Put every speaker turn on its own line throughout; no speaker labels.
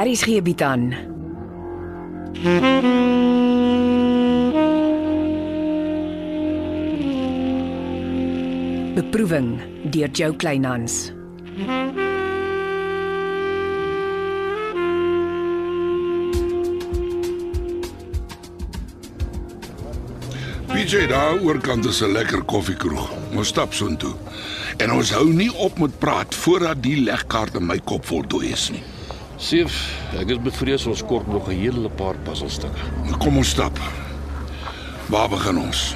Aries gee bied aan. Beproeving deur Jo Kleinhans.
PJ daar oorkant is 'n lekker koffiekroeg. Ons stap soontoe. En ons hou nie op met praat voordat die legkaart in my kop voltooi is nie.
Seef, ek is bevrees ons kort nog 'n hele paar puzzelstukke.
Nou, Kom ons stap. Waar begin ons?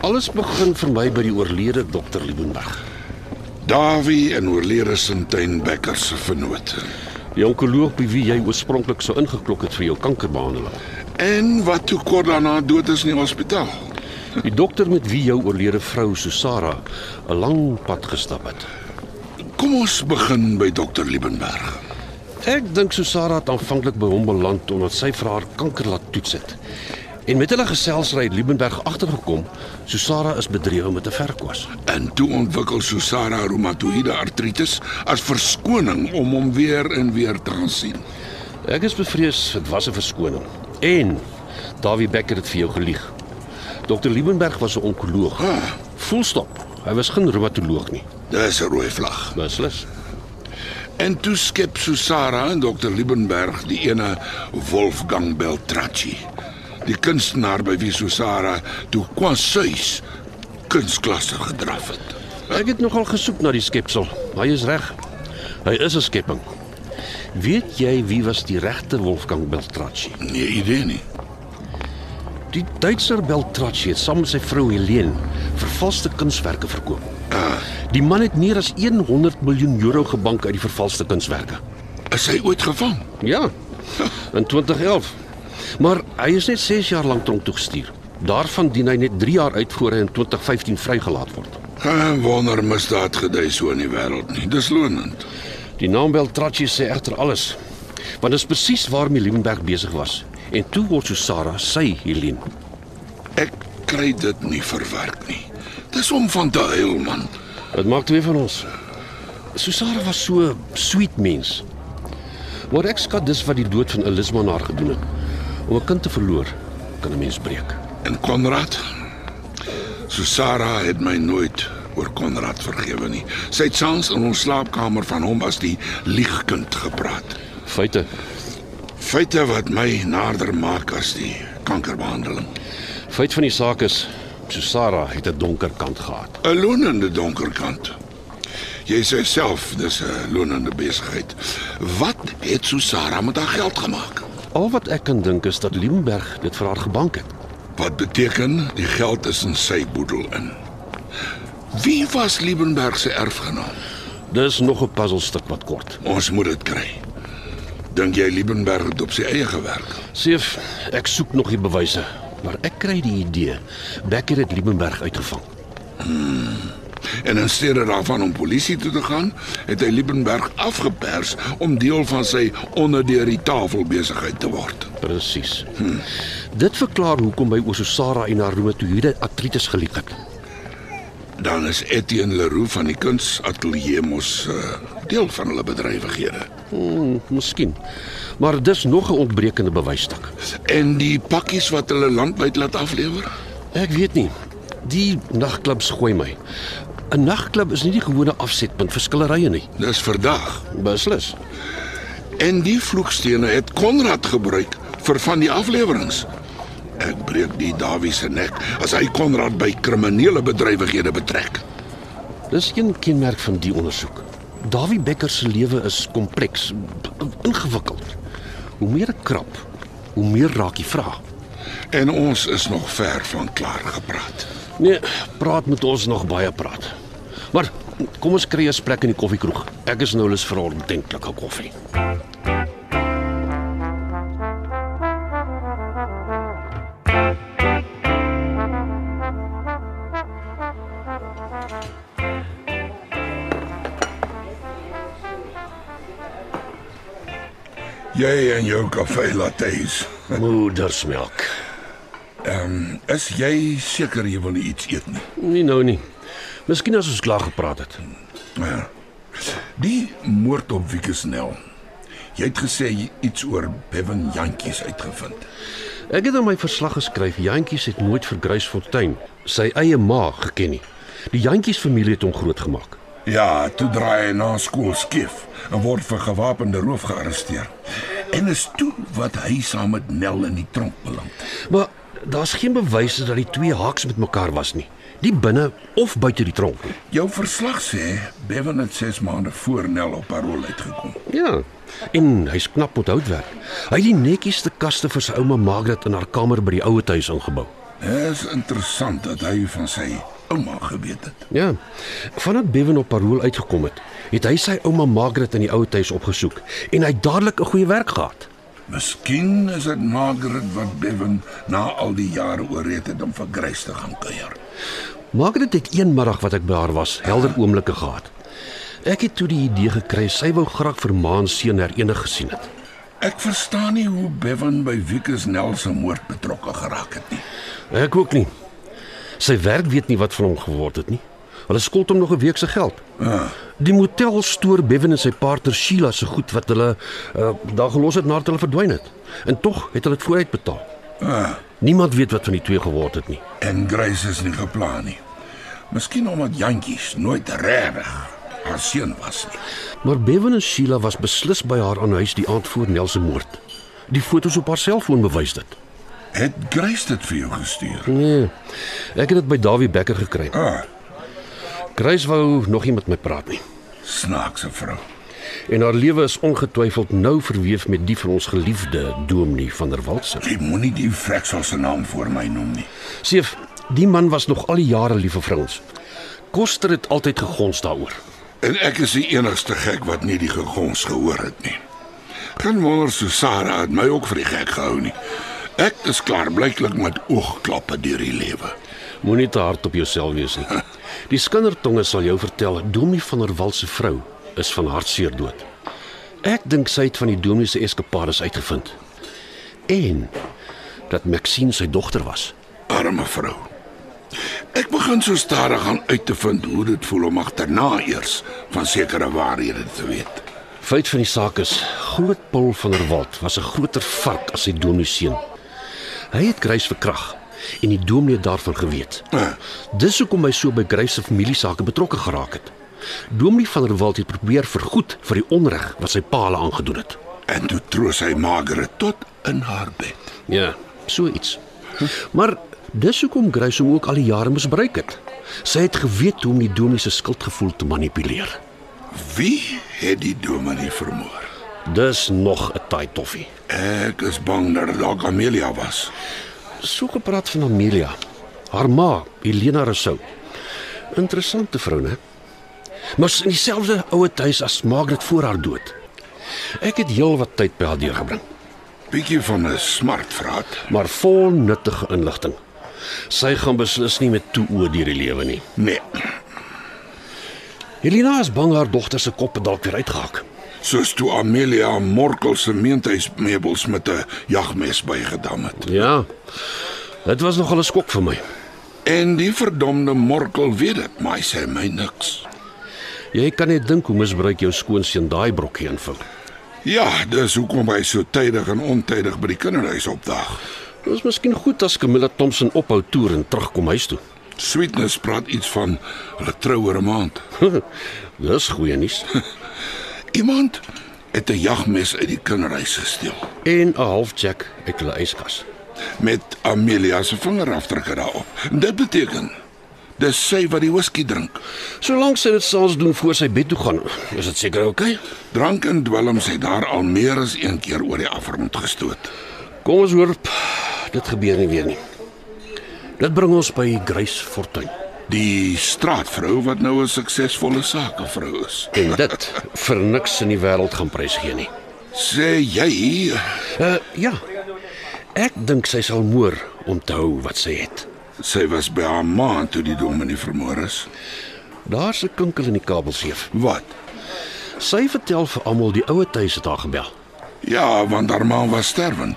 Alles begin vir my by die oorlede dokter Liebenberg.
Davie en oorlede Sintuin Becker se vernoot.
Die onkoloog by wie jy oorspronklik sou ingeklok het vir jou kankerbehandeling.
En wat toe kort daarna dood is in die hospitaal.
Die dokter met wie jou oorlede vrou Susara 'n lang pad gestap het.
Kom ons begin by dokter Liebenberg.
Ek dink Susara het aanvanklik by hom beland omdat sy vir haar kanker laat toets het. En met hulle geselsry het Liebenberg agtergekom Susara is bedrewe met 'n verkwas.
En toe ontwikkel Susara reumatoïede artritis as verskoning om hom weer en weer te gaan sien.
Ek is bevrees dit was 'n verskoning. En Dawie Becker het vir jou gelieg. Dr Liebenberg was 'n onkoloog.
Ah.
Volstop. Hy was geen reumatoloog nie.
Dis 'n rooi vlag.
Beslis.
En toe skep Susara en dokter Liebenberg die ene Wolfgang Beltracci. Die kunstenaar by wie Susara toe kwansuis kunstklasse gedraf het.
Ek het nogal gesoek na die skepsel. Hy is reg. Hy is 'n skepping. Weet jy wie was die regte Wolfgang Beltracci?
Nee idee nie.
Die Duitser Beltracci het saam met sy vrou Helene vervalste kunswerke verkoop.
Ah,
Die man het meer as 100 miljoen euro gebank uit die vervalste kunswerke.
Is hy ooit gevang?
Ja. In 2011. Maar hy is net 6 jaar lank tronk toe gestuur. Daarvan dien hy net 3 jaar uit voor hy in 2015 vrygelaat word.
Geen Ah, wonder misdaad gedui so in die wêreld nie. Dis lonend.
Die naam Beltracci sê egter alles. Want dit is presies waarmee Liebenberg besig was. En toe word Susara sy Helene.
Ek kry dit nie verwerk nie. Dis om van te huil man.
Dit maak twee van ons. Susara was so sweet mens. Maar ek skat dis wat die dood van Elisma aan haar gedoen het. Om 'n kind te verloor kan 'n mens breek.
En Konrad? Susara het my nooit oor Konrad vergewe nie. Sy het soms in ons slaapkamer van hom as die liegkind gepraat.
Feite.
Feite wat my nader maak as die kankerbehandeling.
Feit van die saak is Susara het 'n donker kant gehad.
'n Lonende donker kant. Jy sê self dis 'n lonende besigheid. Wat het Susara met haar geld gemaak?
Al wat ek kan dink is dat Liebenberg dit vir haar gebank het.
Wat beteken die geld is in sy boedel in. Wie was Liebenberg se erfgenaam?
Dis nog 'n puzzelstuk wat kort.
Ons moet dit kry. Dink jy Liebenberg het op sy eie gewerk?
Seef, ek soek nog die bewyse, maar ek kry die idee Becker het Liebenberg uitgevang.
En in steede daarvan om polisie toe te gaan, het hy Liebenberg afgepers om deel van sy onder deur die tafel besigheid te word.
Presies. Hm. Dit verklaar hoekom hy oor Susara en haar reumatoïede artritis geliek het.
Dan is Etienne Leroux van die kunsatelier mos uh, deel van hulle bedrywighede.
Hm, miskien. Maar dis nog 'n ontbrekende bewysstuk.
En die pakkies wat hulle landwyd laat aflewer?
Ek weet nie. Die nagklubs gooi my. 'n Nagklub is nie die gewone afsetpunt vir skillerye nie.
Dis vandag.
Beslis.
En die vloekstene het Konrad gebruik vir van die afleweringe. Ek breek die Dawie se nek as hy Konrad by kriminele bedrywighede betrek.
Dis een kenmerk van die ondersoek. Dawie Becker se lewe is kompleks, b- ingewikkeld. Hoe meer ek krap, hoe meer raak die vraag.
En ons is nog ver van klaar gepraat.
Nee, praat met ons nog baie praat. Maar kom ons kry 'n plek in die koffiekroeg. Ek is nou lus vir 'n ordentlike koffie.
Jy en jou kafee lattes.
Moedersmelk.
Is jy seker jy wil nie iets eet nie?
Nie nou nie. Miskien as ons klaar gepraat het.
Ja. Die moord op Wiekesnel. Jy het gesê jy iets oor Bevan Jantjies uitgevind.
Ek het in my verslag geskryf Jantjies het nooit vir Gracefontein sy eie ma geken nie. Die Jantjies familie het hom grootgemaak.
Ja, toe draai hy na skool skief en word vir gewapende roof gearresteer. En is toe wat hy saam met Nel in die tronk beland.
Maar daar's geen bewyse dat die twee haaks met mekaar was nie. Die binne of buite die tronk. nie.
Jou verslag sê Bevan het 6 maande voor Nel op parol uitgekom.
Ja. En hy's knap met houtwerk. Hy het die netjiesste kaste vir sy ouma Margaret in haar kamer by die ouer huis ingebou.
Dis interessant dat hy van sy ouma geweet het.
Ja. Vandat Bevan op parol uitgekom het, het hy sy ouma Margaret in die ouer huis opgesoek en hy het dadelik 'n goeie werk gehad.
Miskien is dit Margaret wat Bevan na al die jare ooreed het om vir Grace te gaan kuier.
Margaret het een middag wat ek by haar was, helder oomblikke gehad. Ek het toe die idee gekry sy wou graag vir Maan seun herenig gesien het.
Ek verstaan nie hoe Bevan by Wikus Nel se moord betrokke geraak het nie.
Ek ook nie. Sy werk weet nie wat van hom geword het nie. Hulle skuld hom nog 'n week se geld.
Ah,
Die motel stoor Bevan en sy partner Sheila se goed wat hulle uh, daar gelos het nadat hulle verdwyn het. En tog het hulle dit vooruit betaal.
Ah,
Niemand weet wat van die twee geword het nie.
en Grace is nie geplan nie. Miskien omdat Jantjies nooit regtig haar seun was nie.
Maar Bevan en Sheila was beslis by haar aan huis die aand voor Nel se moord. Die fotos op haar selfoon bewys dit.
Het Grace dit vir jou gestuur?
Nee. Ek het dit by Dawie Becker gekry.
Ah,
Grace wou nog nie met my praat nie.
snaakse vrou.
En haar lewe is ongetwyfeld nou verweef met die vir ons geliefde Dominee van der Walt.
Jy moenie die vreksel se naam voor my noem nie.
Seef, die man was nog al die jare lief vir vrouens. Koster het altyd gegons daaroor.
En ek is die enigste gek wat nie die gegons gehoor het nie. Geen wonder Susara het my ook vir die gek gehou nie. Ek is klaar blyklik met oogklappe deur die lewe.
Moenie te hard op jouself wees nie. Die skindertonge sal jou vertel Dominee van der Walt se vrou is van hartseer dood. Ek dink sy het van die dominee se eskapades uitgevind. En dat Maxine sy dogter was.
Arme vrou. Ek begin so stadig aan uit te vind hoe dit voel om agterna eers van sekere waarhede te weet.
Feit van die saak is, groot Paul van der Walt was 'n groter vark as sy dominee seun. Hy het Grace verkrag en die dominee het daarvan geweet.
Ah.
Dis hoekom hy so by Grace se familiesake betrokke geraak het. Dominee van der Walt het probeer vergoed vir die onreg wat sy pa hulle aangedoen het.
En toe troos hy Margaret tot in haar bed.
Ja, so iets. Maar dis hoekom Grace hom ook al die jare misbruik het. Sy het geweet hoe om die dominee se skuldgevoel te manipuleer.
Wie het die dominee vermoor?
Dis nog 'n taai toffie.
Ek is bang dat dit dalk Amelia was.
So gepraat van Amelia. Haar ma, Helena Rousseau. Interessante vrou, né? Maar sy in dieselfde ouer huis as Margaret voor haar dood. Ek het heelwat tyd by haar deurgebring,
Bietjie van 'n smart vraat.
maar vol nuttige inligting. Sy gaan beslis nie met toe oë deur die lewe nie.
Nee,
Helena is bang haar dogter se kop het dalk weer uitgehak.
soos toe Amelia Morkel se meentuismeubels met 'n jagmes bygedam het.
Ja. Dit was nogal 'n skok vir my.
En die verdomde Morkel weet dit, maar hy sê my niks.
Jy kan net dink hoe misbruik jou skoonseun daai brokkie invul.
Ja, dis hoekom hy so tydig en ontydig by die kinderhuis opdaag.
Dit is miskien goed as Camilla Thompson ophou toer en terugkom huis toe.
Sweetness praat iets van hulle trou oor 'n maand.
Dis goeie nuus.
Iemand het 'n jagmes uit die kinderhuis gesteel
En 'n half jack uit hulle yskas.
met Amelia se vingerafdrukke daarop. Dit beteken dis sy wat die whisky drink.
Solank sy dit saans doen voor sy bed toe gaan, is dit seker oukei. Okay?
Drank en dwelms het daar al meer as een keer oor die afgrond gestoot.
Kom ons hoor, pff, dit gebeur nie weer nie. Dit bring ons by Grace Fortuin.
Die straatvrou wat nou 'n suksesvolle sakevrou is.
En dit vir niks in die wêreld gaan prys gee nie.
Sê jy
Uh ja. Ek dink sy sal moer om te hou wat sy het.
sy was by haar ma toe die dominee vermoor is?
Daar's 'n kinkel in die kabelseef.
Wat?
Sy vertel vir almal die ouer huis het haar gebel.
Ja, want haar ma was sterwend.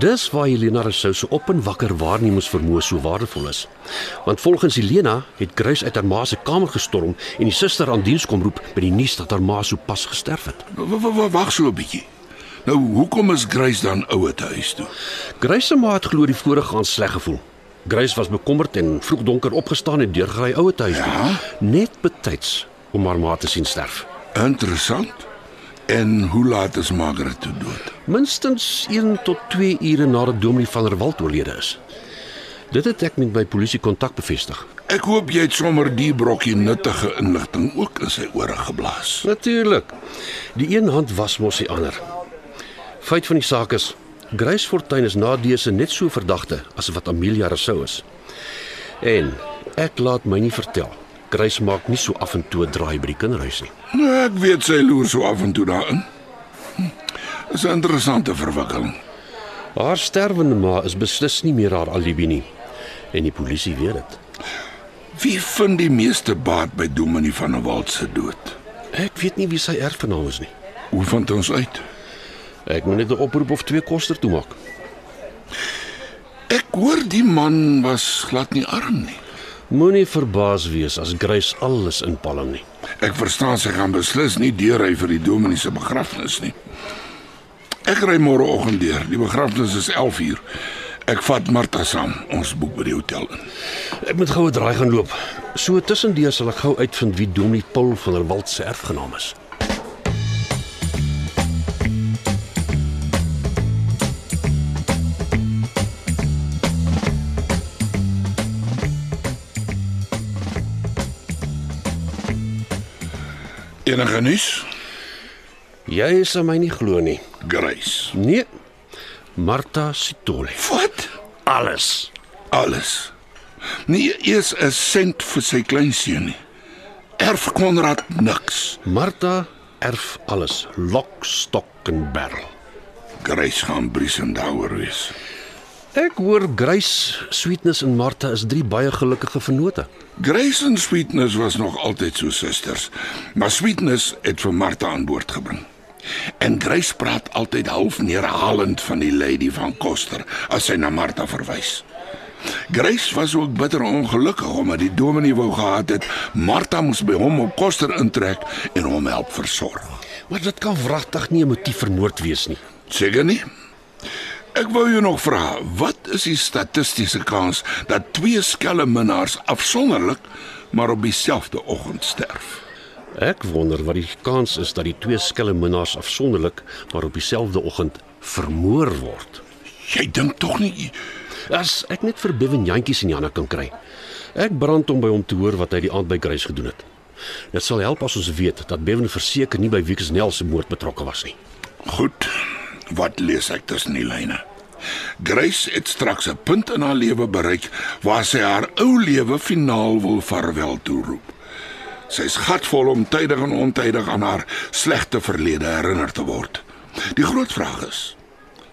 Dis waar Helena Rousseau se op en wakker waarnemingsvermoë so waardevol is. Want volgens Helena het Grace uit haar ma se kamer gestorm en die suster aan diens kom roep met die nuus dat haar ma sopas gesterf het.
W- w- w- Wag so 'n bietjie. Nou, hoekom is Grace dan ouer te huis toe?
Grace se ma het glo die vorige aand sleg gevoel. Grace was bekommerd en vroeg donker opgestaan en deurgery ouer huis toe.
Ja?
Net betyds om haar ma te sien sterf.
Interessant. En hoe laat is Margaret toe dood?
Minstens 1 tot 2 ure nadat Dominee van der Walt oorlede is. Dit het ek met my polisie kontak bevestig.
Ek hoop jy het sommer die brokkie nuttige inligting ook in sy ore geblaas.
Natuurlik. Die een hand was mos die ander. Feit van die saak is Grace Fortuin is na dese net so verdagte as wat Amelia Rousseau is. En ek laat my nie vertel. Grace maak nie so af en toe 'n draai by die kinderhuis nie.
Nou, ek weet sy loer so af en toe daarin. Hm, Dis 'n interessante verwikkeling.
Haar sterwende ma is beslis nie meer haar alibi nie. En die polisie weet dit.
Wie vind die meeste baat by Dominie van der Walt se dood?
Ek weet nie wie sy erfgenaam is nie.
Hoe vind ons uit?
Ek moet net 'n oproep of twee koster toe maak.
Ek hoor die man was glad nie arm nie.
Moenie verbaas wees as Grace alles inpalm nie.
Ek verstaan sy gaan beslis nie deurry vir die dominee se begrafnis nie. Ek ry môreoggend deur. Die begrafnis is 11uur. Ek vat Martha saam. Ons boek by die hotel in.
Ek moet gou 'n draai gaan loop. So tussendeur sal ek gou uitvind wie Dominee Paul van der Walt se erfgenaam is.
Enige nuus?
Jy sal my nie glo nie.
Grace.
Nee. Martha Sitole.
Wat?
Alles.
Alles. Nie eers 'n sent vir sy kleinseun nie. Erf Konrad niks.
Martha erf alles. Lok, stok en barrel.
Grace gaan Briesendouer wees.
Ek hoor Grace, Sweetness en Martha is drie baie gelukkige vennote.
Grace en Sweetness was nog altyd so susters, maar Sweetness het vir Martha aan boord gebring. En Grace praat altyd half neerhalend van die lady van Koster as sy na Martha verwys. Grace was ook bitter ongelukkig omdat die dominee wou gehad het Martha moes by hom op Koster intrek en hom help versorg.
Maar dit kan wragtig nie 'n motief vir moord wees nie.
Seker nie. Ek wou jou nog vra, wat is die statistiese kans dat twee skelm minnaars afsonderlik maar op dieselfde oggend sterf?
Ek wonder wat die kans is dat die twee skelmminnaars afsonderlik maar op dieselfde oggend vermoor word.
Jy dink tog nie
As ek net vir Bevan Jantjies en Janne kan kry. Ek brand om by hom te hoor wat hy die aand by Grace gedoen het. Dit sal help as ons weet dat Bevan verseker nie by Wikus Nel se moord betrokke was nie.
goed wat lees ek tussen die lyne. Grace het straks 'n punt in haar lewe bereik waar sy haar ou lewe finaal wil vaarwel toeroep. Sy's gatvol om tydig en ontydig aan haar slegte verlede herinner te word. Die groot vraag is,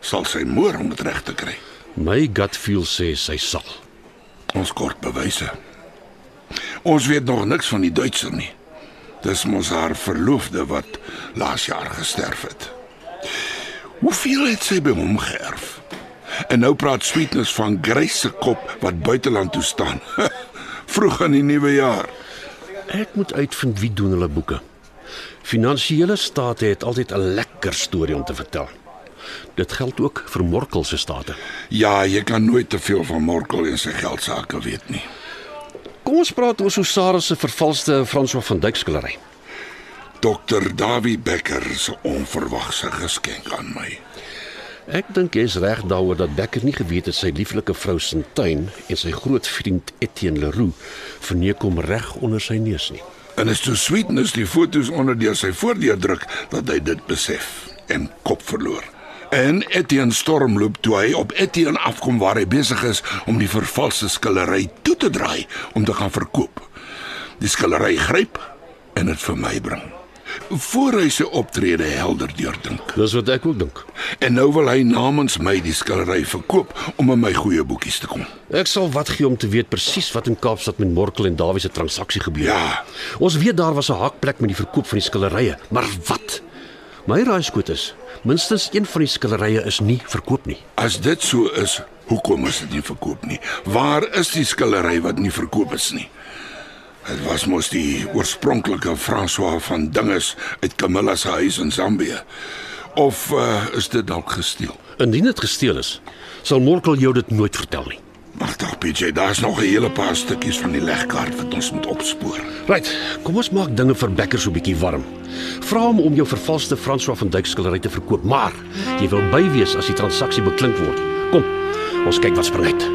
sal sy moer om dit reg te kry?
My gut feel sê sy sal.
Ons kort bewyse. Ons weet nog niks van die Duitser nie. Dis mos haar verloofde wat laas jaar gesterf het. Hoeveel het sy by hom geërf? En nou praat Sweetness van Grace se kop wat buiteland toe staan. Vroeg in die nuwe jaar.
Ek moet uitvind wie doen hulle boeke. Finansiële state het altyd 'n lekker storie om te vertel. Dit geld ook vir Morkel se state.
Ja, jy kan nooit te veel van Morkel en sy geld sake weet nie.
Kom ons praat oor Susara se vervalste François van Dyk skildery.
Dokter Dawie Becker se onverwagse geskenk aan my.
Ek dink jy is reg daaroor dat Becker nie geweet het sy lieflike vrou Sintuin en sy groot vriend Etienne Leroux verneek hom reg onder sy neus nie.
En is toe Sweetness die fotos onder deur sy voordeur druk dat hy dit besef en kop verloor. En Etienne stormloop toe hy op Etienne afkom waar hy besig is om die vervalste skildery toe te draai om te gaan verkoop. Die skildery gryp en dit vir my bring. Voor hy sy optrede helder deurdink.
Dis wat ek ook dink.
En nou wil hy namens my die skildery verkoop om in my goeie boekies te kom.
Ek sal wat gee om te weet presies wat in Kaapstad met Morkel en Dawie se transaksie gebeur het.
Ja,
Ons weet daar was 'n haakplek met die verkoop van die skilderye, maar wat? My raaiskoot is Minstens een van die skillerye is nie verkoop nie.
As dit so is, hoekom is dit nie verkoop nie? Waar is die skillery wat nie verkoop is nie? Dit was mos die oorspronklike François van Dinges uit Camilla se huis in Zambië. Of uh, is dit dalk gesteel?
Indien dit gesteel is, sal Morkel jou dit nooit vertel nie.
Maar tog PJ, daar's nog 'n hele paar stukkies van die legkaart wat ons moet opspoor.
Right, kom ons maak dinge vir Becker so 'n bietjie warm. Vra hom om jou vervalste François van Dyk skildery te verkoop, maar jy wil bywees as die transaksie beklink word. Kom, ons kyk wat spring uit.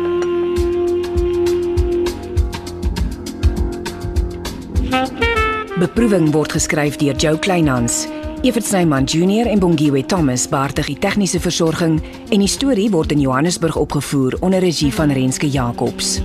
Beproeving word geskryf deur Jo Kleinhans. Evert Snyman Junior en Bongwe Thomas baartig die tegniese versorging en die storie word in Johannesburg opgevoer onder regie van Renske Jacobs.